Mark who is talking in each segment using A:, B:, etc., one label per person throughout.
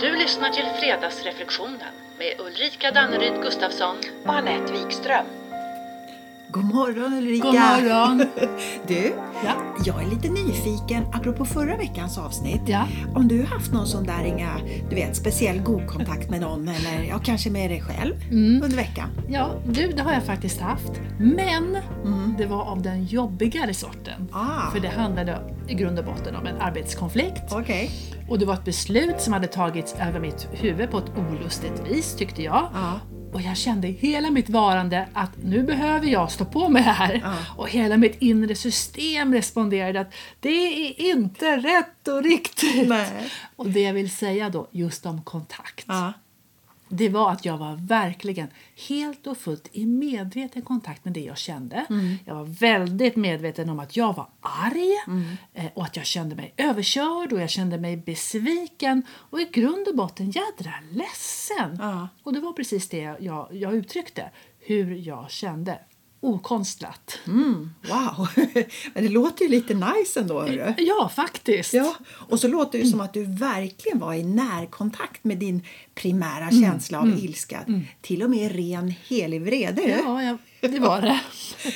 A: Du lyssnar till Fredagsreflektionen med Ulrika Danneryd Gustafsson.
B: och Anette Wikström.
C: God morgon Ulrika!
D: God morgon!
C: Du,
D: Ja.
C: jag är lite nyfiken, apropå förra veckans avsnitt,
D: Ja.
C: om du har haft någon sån där inga, du vet, speciell god kontakt med någon eller ja, kanske med dig själv
D: Mm.
C: under veckan?
D: ja, du det har jag faktiskt haft. Men
C: Mm.
D: det var av den jobbigare sorten.
C: Ah,
D: För det handlade i grund och botten om en arbetskonflikt
C: okej.
D: och det var ett beslut som hade tagits över mitt huvud på ett olustigt vis tyckte jag.
C: Ja,
D: Och jag kände i hela mitt varande att nu behöver jag stå på mig här.
C: Ja.
D: Och hela mitt inre system responderade att det är inte rätt och riktigt.
C: Nej.
D: Och det jag vill säga då just om kontakt.
C: ja,
D: det var att jag var verkligen helt och fullt i medveten kontakt med det jag kände.
C: Mm.
D: Jag var väldigt medveten om att jag var arg
C: Mm.
D: eh, och att jag kände mig överkörd och jag kände mig besviken och i grund och botten jädra ledsen.
C: Ja.
D: Och det var precis det jag, jag uttryckte, hur jag kände. Okonstlat.
C: Mm. wow. Men det låter ju lite nice ändå. Hörru.
D: Ja, faktiskt.
C: Ja, och så låter det ju som att du verkligen var i närkontakt med din primära
D: Mm.
C: känsla av ilska. Till och med ren helig vrede. du.
D: ja jag, det var det.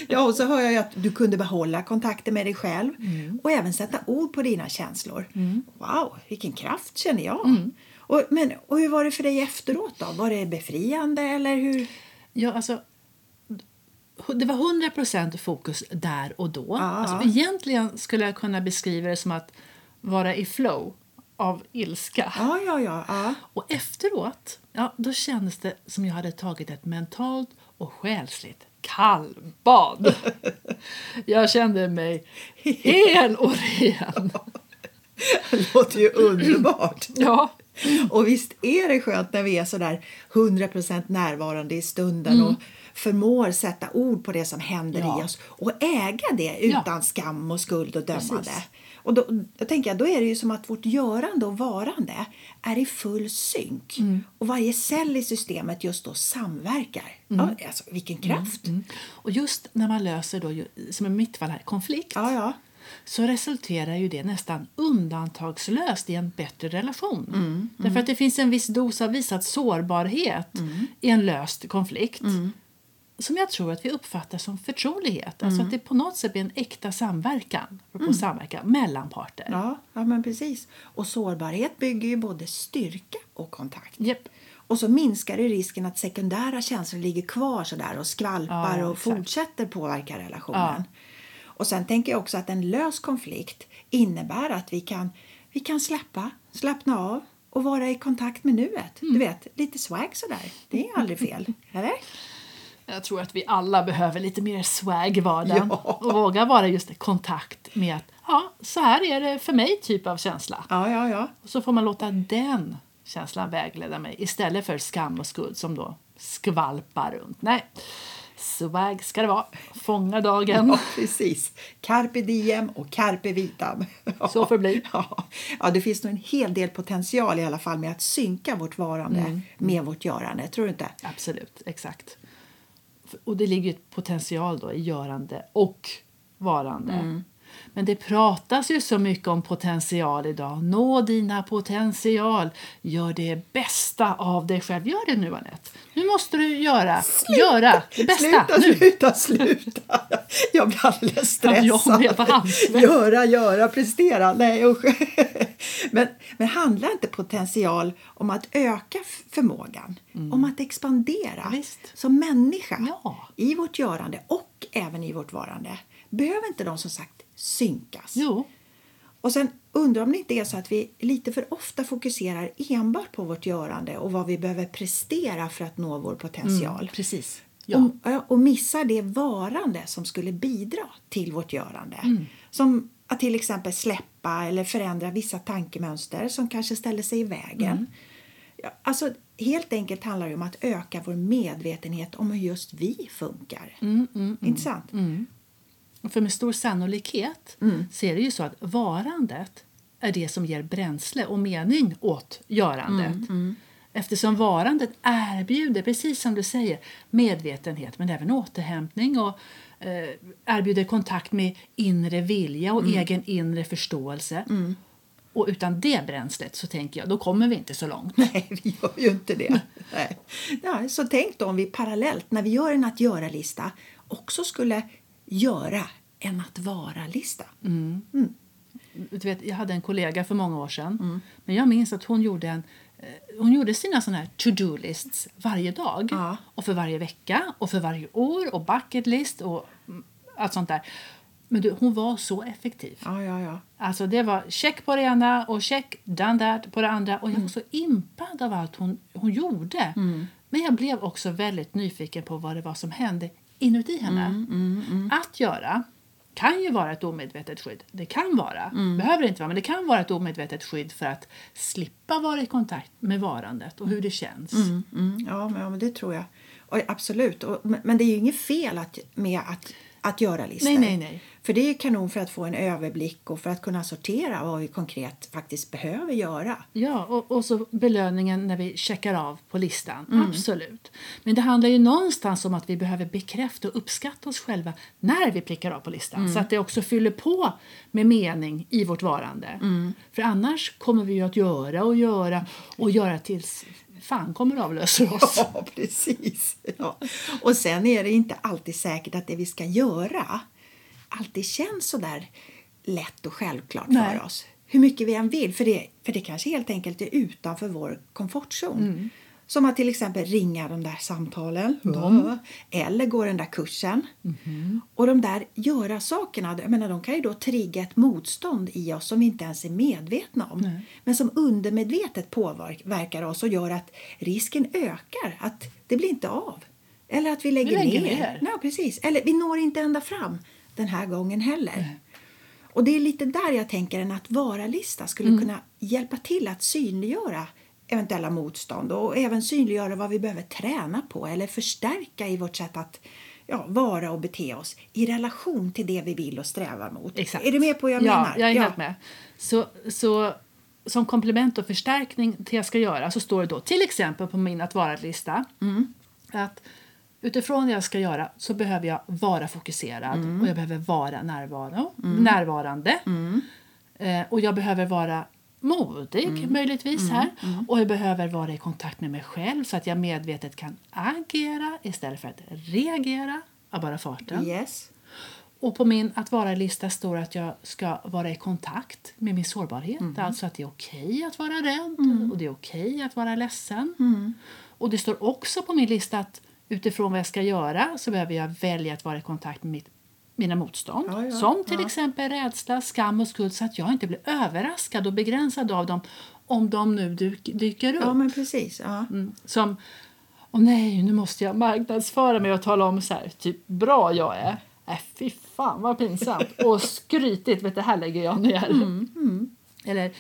C: Ja, och så hör jag ju att du kunde behålla kontakten med dig själv och även sätta ord på dina känslor. Wow, vilken kraft känner jag! Och, men, och hur var det för dig efteråt då? Var det befriande eller hur?
D: Ja, alltså, det var 100 fokus där och då.
C: Ja.
D: Alltså, egentligen skulle jag kunna beskriva det som att vara i flow av ilska.
C: Ja, ja, ja. ja.
D: Och efteråt, ja, då kändes det som jag hade tagit ett mentalt och själsligt kallbad. jag kände mig hel och ren.
C: Det låter ju underbart!
D: Ja.
C: Och visst är det skönt när vi är sådär 100% närvarande i stunden och förmår sätta ord på det som händer
D: Mm. Ja.
C: i oss och äga det
D: Ja.
C: utan skam och skuld och dömande.
D: Precis.
C: Och då, då tänker jag, då är det ju som att vårt görande och varande är i full synk
D: Mm.
C: och varje cell i systemet just då samverkar.
D: Mm.
C: Ja, alltså, vilken kraft!
D: Och just när man löser, då, ju- som i mitt fall, här, konflikt
C: Ja, ja.
D: så resulterar ju det nästan undantagslöst i en bättre relation. Därför att det finns en viss dos av visad sårbarhet i en löst konflikt som jag tror att vi uppfattar som förtrolighet. Alltså att det på något sätt blir en äkta samverkan, mm. samverkan mellan parter.
C: Ja, ja, men precis. Och sårbarhet bygger ju både styrka och kontakt.
D: Japp.
C: Och så minskar det risken att sekundära känslor ligger kvar sådär och skvalpar
D: Ja,
C: och
D: exakt.
C: fortsätter påverka relationen. Och sen tänker jag också att en lös konflikt innebär att vi kan, vi kan släppa, slappna av och vara i kontakt med nuet.
D: Mm.
C: Du vet, lite swag sådär. Det är aldrig fel. eller?
D: Jag tror att vi alla behöver lite mer swag i vardagen
C: Ja.
D: och våga vara just i kontakt med att ja, så här är det för mig typ av känsla.
C: Ja, ja, ja.
D: Och så får man låta den känslan vägleda mig istället för skam och skuld som då skvalpar runt. Nej, swag ska det vara. Fånga dagen.
C: Ja, precis. Carpe diem och carpe vitam.
D: Så förblir.
C: Ja. ja, det finns nog en hel del potential i alla fall med att synka vårt varande
D: Mm.
C: med vårt görande. Tror du inte?
D: Absolut, exakt. F- Och det ligger ju ett potential då i görande och varande.
C: Mm.
D: Men det pratas ju så mycket om potential idag. Nå dina potential. Gör det bästa av dig själv. Gör det nu, Anette. Nu måste du göra, göra det bästa.
C: Sluta,
D: nu.
C: sluta, sluta! Jag blir alldeles stressad.
D: Ja, jag blev handsvett.
C: göra, göra, prestera. Nej, usch. Men, men handlar inte potential om att öka f- förmågan? Om att expandera
D: Mm. Visst.
C: som människa
D: Ja.
C: i vårt görande och även i vårt varande? Behöver inte de som sagt synkas?
D: Jo.
C: Och sen undrar om det inte är så att vi lite för ofta fokuserar enbart på vårt görande och vad vi behöver prestera för att nå vår potential.
D: Precis.
C: Och, ja, och missar det varande som skulle bidra till vårt görande. Som att till exempel släppa eller förändra vissa tankemönster som kanske ställer sig i vägen. Ja, alltså, helt enkelt handlar det om att öka vår medvetenhet om hur just vi funkar. Inte sant?
D: För med stor sannolikhet så är det ju så att varandet är det som ger bränsle och mening åt görandet. Eftersom varandet erbjuder, precis som du säger, medvetenhet men även återhämtning och eh, erbjuder kontakt med inre vilja och egen inre förståelse. Och utan det bränslet så tänker jag, då kommer vi inte så långt.
C: Nej, vi gör ju inte det. Nej. Ja, så tänk då om vi parallellt, när vi gör en att göra-lista, också skulle göra en att vara-lista.
D: Mm. Du vet, jag hade en kollega för många år sedan.
C: Mm.
D: Men jag minns att hon gjorde, en, eh, hon gjorde sina såna här to-do-lists varje dag.
C: Ja.
D: Och för varje vecka och för varje år och bucket list och mm, allt sånt där. Men du, hon var så effektiv.
C: Ja, ja, ja.
D: Alltså det var check på det ena och check done that på det andra. Och jag var så impad av allt hon, hon gjorde. Men jag blev också väldigt nyfiken på vad det var som hände inuti henne. Att göra kan ju vara ett omedvetet skydd. Det kan vara. Behöver inte vara, men det kan vara ett omedvetet skydd för att slippa vara i kontakt med varandet och hur det känns.
C: Mm, mm. Ja, men, ja, men det tror jag. Och, absolut. Och, men- men det är ju inget fel att, med att, att göra listor.
D: Nej, nej, nej.
C: För det är ju kanon för att få en överblick och för att kunna sortera vad vi konkret faktiskt behöver göra.
D: Ja, och, och så belöningen när vi checkar av på listan. Absolut. Men det handlar ju någonstans om att vi behöver bekräfta och uppskatta oss själva när vi prickar av på listan. Så att det också fyller på med mening i vårt varande. För annars kommer vi ju att göra och göra och göra tills fan kommer avlöser oss.
C: Ja, precis. Ja. Och sen är det inte alltid säkert att det vi ska göra alltid känns så där lätt och självklart
D: Nej.
C: för oss. Hur mycket vi än vill, för det, för det kanske helt enkelt är utanför vår komfortzon.
D: Mm.
C: Som att till exempel ringa de där samtalen eller gå den där kursen.
D: Mm-hmm.
C: Och de där göra-sakerna, jag menar, de kan ju då trigga ett motstånd i oss som vi inte ens är medvetna om. Men som undermedvetet påverkar oss och gör att risken ökar, att det blir inte av. Eller att vi lägger,
D: Vi lägger
C: ner.
D: ner.
C: Ja, precis. Eller vi når inte ända fram den här gången heller. Och det är lite där jag tänker en att vara-lista skulle
D: Mm.
C: kunna hjälpa till att synliggöra eventuella motstånd och även synliggöra vad vi behöver träna på eller förstärka i vårt sätt att ja, vara och bete oss i relation till det vi vill och strävar mot.
D: Exakt.
C: Är du med på vad jag
D: ja,
C: menar?
D: jag är helt med. Så, så som komplement och förstärkning till jag ska göra så står det då till exempel på min att vara-lista att utifrån det jag ska göra så behöver jag vara fokuserad
C: Mm.
D: och jag behöver vara närvaro, närvarande. Eh, och jag behöver vara modig
C: Mm.
D: möjligtvis här och jag behöver vara i kontakt med mig själv så att jag medvetet kan agera istället för att reagera av bara farten.
C: Yes.
D: Och på min att vara-lista står att jag ska vara i kontakt med min sårbarhet.
C: Mm.
D: Alltså att det är okej att vara rädd och det är okej att vara ledsen.
C: Mm.
D: Och det står också på min lista att utifrån vad jag ska göra så behöver jag välja att vara i kontakt med mitt, mina motstånd.
C: Ja, ja,
D: som till exempel rädsla, skam och skuld så att jag inte blir överraskad och begränsad av dem om de nu dyk, dyker upp.
C: Ja, men precis. Ja.
D: Mm. Som, åh nej, nu måste jag marknadsföra mig och tala om så här, typ bra jag är. Äh, fy fan vad pinsamt. Och skrytigt, vet du, det här lägger jag ner. Eller,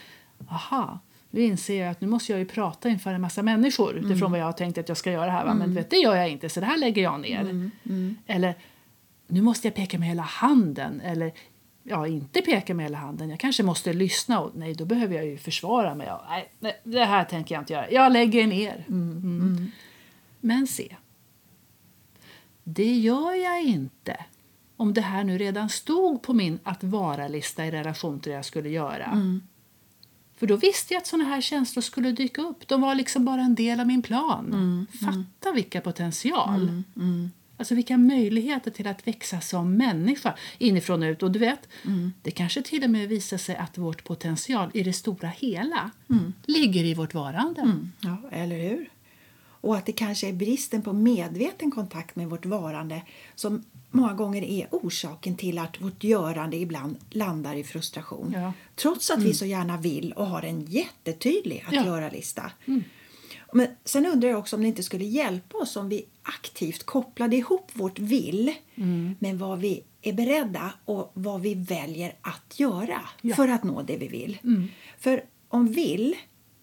D: aha, nu inser jag att nu måste jag ju prata inför en massa människor utifrån vad jag har tänkt att jag ska göra här. Va? Men du vet, det gör jag inte, så det här lägger jag ner. Eller, nu måste jag peka med hela handen. Eller, ja, inte peka med hela handen. Jag kanske måste lyssna. Och, nej, då behöver jag ju försvara mig. Ja, nej, nej, det här tänker jag inte göra. Jag lägger ner. Mm. Men se. Det gör jag inte. Om det här nu redan stod på min att vara-lista i relation till det jag skulle göra. För då visste jag att såna här känslor skulle dyka upp. De var liksom bara en del av min plan. Fatta vilka potential! Alltså vilka möjligheter till att växa som människa inifrån och ut. Och du vet, det kanske till och med visar sig att vårt potential i det stora hela ligger i vårt varande.
C: Ja, eller hur? Och att det kanske är bristen på medveten kontakt med vårt varande som många gånger är orsaken till att vårt görande ibland landar i frustration.
D: Ja.
C: Trots att vi så gärna vill och har en jättetydlig att
D: Mm. Ja. Mm.
C: göra-lista. Men sen undrar jag också om det inte skulle hjälpa oss om vi aktivt kopplade ihop vårt vill
D: Mm.
C: med vad vi är beredda och vad vi väljer att göra
D: Ja. Mm.
C: för att nå det vi vill. För om vill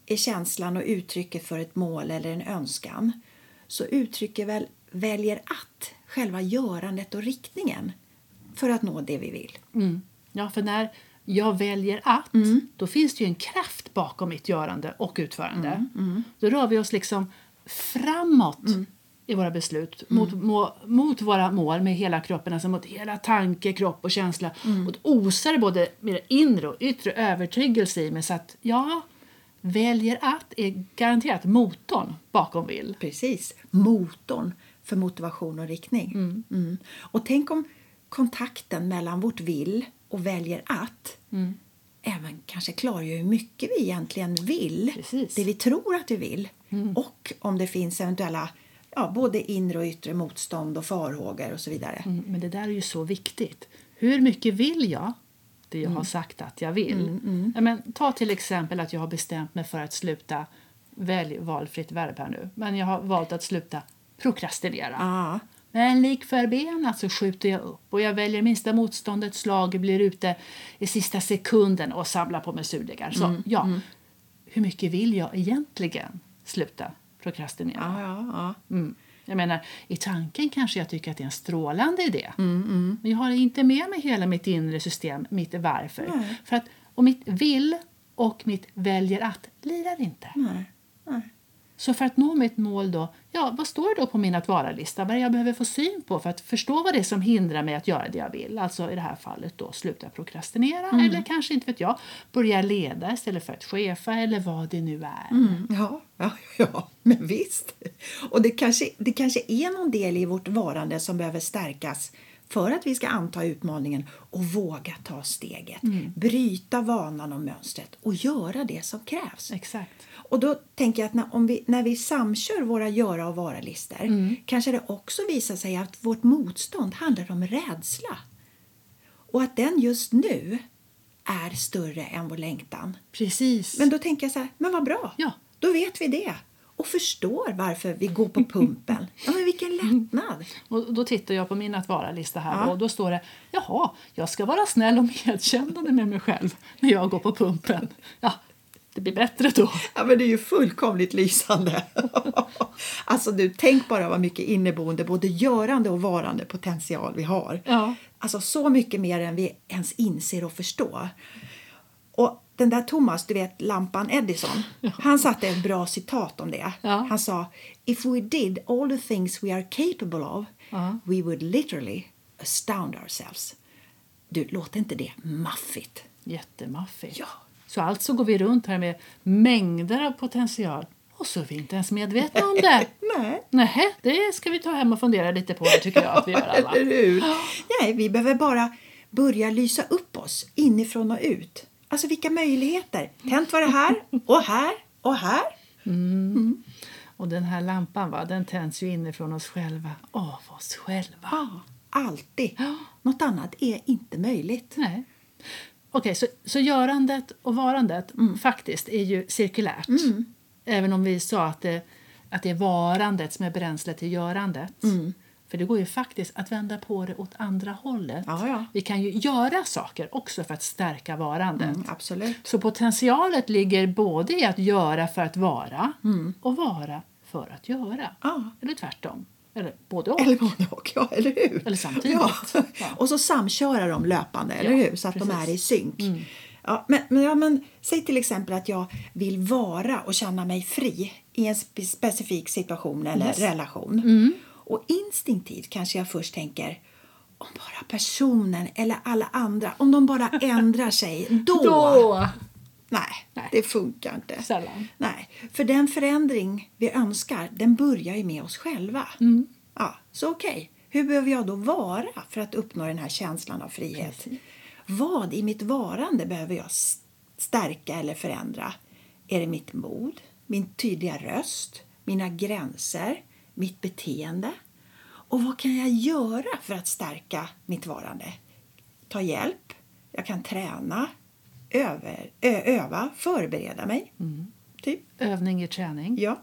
C: är känslan och uttrycket för ett mål eller en önskan så uttrycker väl väljer att själva görandet och riktningen för att nå det vi vill.
D: Mm. Ja, för när jag väljer att, då finns det ju en kraft bakom mitt görande och utförande. Då rör vi oss liksom framåt i våra beslut mot, må, mot våra mål med hela kroppen, alltså mot hela tanke, kropp och känsla. Och det osar både med det inre och yttre övertygelse i mig så att ja, väljer att är garanterat motorn bakom vill.
C: Precis, motorn för motivation och riktning. Mm. Och tänk om kontakten mellan vårt vill och väljer att
D: Mm.
C: även kanske klargör hur mycket vi egentligen vill,
D: Precis. Mm.
C: det vi tror att vi vill och om det finns eventuella ja, både inre och yttre motstånd och farhågor och så vidare.
D: Mm, men det där är ju så viktigt. Hur mycket vill jag det jag har sagt att jag vill? Ja, men, ta till exempel att jag har bestämt mig för att sluta, välj valfritt verb här nu, men jag har valt att sluta prokrastinera.
C: Ja.
D: Men lik förbenat så skjuter jag upp och jag väljer minsta motståndet, slag blir ute i sista sekunden och samlar på mig surdegar. Så ja, hur mycket vill jag egentligen sluta prokrastinera?
C: Ja, ja, ja.
D: Mm. Jag menar, I tanken kanske jag tycker att det är en strålande idé.
C: Mm,
D: Men jag har inte med mig hela mitt inre system, mitt varför.
C: Nej.
D: För att, och mitt vill och mitt väljer att lirar inte.
C: Nej. Nej.
D: Så för att nå mitt mål då, ja, vad står det då på min att vara-lista? Vad är det jag behöver få syn på för att förstå vad det är som hindrar mig att göra det jag vill? Alltså i det här fallet då sluta prokrastinera
C: Mm.
D: eller kanske inte vet jag, börja leda istället för att chefa eller vad det nu är.
C: Mm, ja, ja, ja, men visst. Och det kanske, det kanske är någon del i vårt varande som behöver stärkas för att vi ska anta utmaningen och våga ta steget. Bryta vanan och mönstret och göra det som krävs.
D: Exakt.
C: Och då tänker jag att när, om vi, när vi samkör våra göra och vara-listor kanske det också visar sig att vårt motstånd handlar om rädsla. Och att den just nu är större än vår längtan.
D: Precis.
C: Men då tänker jag så här, men vad bra.
D: Ja.
C: Då vet vi det och förstår varför vi går på pumpen. Ja, men vilken lättnad!
D: Och då tittar jag på min att vara-lista här
C: Ja.
D: och då står det Jaha, jag ska vara snäll och medkännande med mig själv när jag går på pumpen. Ja, det blir bättre då.
C: Ja, men det är ju fullkomligt lysande. alltså du, tänk bara vad mycket inneboende, både görande och varande potential vi har.
D: Ja.
C: Alltså så mycket mer än vi ens inser och förstår. Och den där Thomas, du vet lampan Edison, han satte ett bra citat om det.
D: Ja.
C: Han sa If we did all the things we are capable of
D: Ja.
C: we would literally astound ourselves. Du, låter inte det maffigt?
D: Jättemaffigt.
C: Ja.
D: Så alltså går vi runt här med mängder av potential och så är vi inte ens medvetna om det.
C: Nej.
D: Nej, det ska vi ta hem och fundera lite på det tycker jag att vi gör alla.
C: Eller hur? Nej, vi behöver bara börja lysa upp oss inifrån och ut. Alltså vilka möjligheter! Tänt var det här och här och här.
D: Och den här lampan va, den tänds ju inifrån oss själva, av oss själva.
C: Ja, alltid. Något annat är inte möjligt.
D: Nej. Okej, så, så görandet och varandet
C: Mm.
D: faktiskt är ju cirkulärt. Även om vi sa att det, att det är varandet som är bränslet till görandet.
C: Mm.
D: För det går ju faktiskt att vända på det åt andra hållet.
C: Ja, ja.
D: Vi kan ju göra saker också för att stärka varandet.
C: Mm, absolut.
D: Så potentialet ligger både i att göra för att vara och vara för att göra.
C: Mm. Ja.
D: Eller tvärtom. Eller både och.
C: Eller både och, ja, eller hur?
D: Eller samtidigt.
C: Ja.
D: Ja.
C: Och så samköra de löpande, eller
D: Ja,
C: hur? Så att de
D: precis. Mm.
C: är i synk. Ja, men, men, ja, men, säg till exempel att jag vill vara och känna mig fri i en spe- specifik situation eller relation.
D: Mm.
C: Och instinktivt kanske jag först tänker om bara personen eller alla andra, om de bara ändrar sig, då, Nej,
D: Nej.
C: det funkar inte.
D: Sällan.
C: Nej, för den förändring vi önskar, den börjar ju med oss själva.
D: Mm.
C: Ja, så okej, hur behöver jag då vara för att uppnå den här känslan av frihet? Vad i mitt varande behöver jag s- stärka eller förändra? Är det mitt mod, min tydliga röst, mina gränser, mitt beteende? Och vad kan jag göra för att stärka mitt varande? ta hjälp, jag kan träna, över, ö, öva, förbereda mig. Typ.
D: Övning i träning.
C: Ja.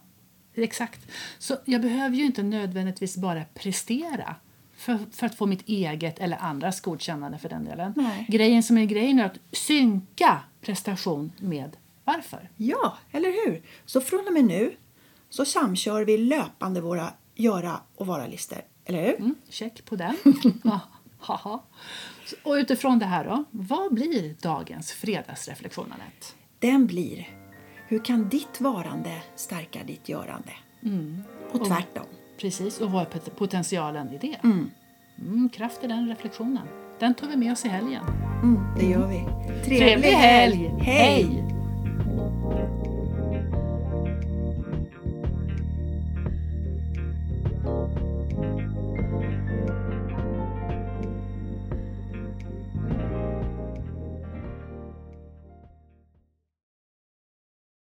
D: Exakt. Så jag behöver ju inte nödvändigtvis bara prestera för, för att få mitt eget eller andras godkännande för den delen.
C: Nej.
D: Grejen som är grejen är att synka prestation med varför.
C: ja, eller hur? Så från och med nu så samkör vi löpande våra göra och vara-listor. Eller hur?
D: Mm, check på den. Ja, haha. Så- Och utifrån det här då, vad blir dagens fredagsreflektion Anette?
C: Den blir Hur kan ditt varande stärka ditt görande? Och tvärtom.
D: Precis, och vad är pot- potentialen i det? Mm. kraft i den reflektionen. Den tar vi med oss i helgen.
C: Mm, det gör vi.
D: Trevlig helg!
C: Hej.
D: Hej.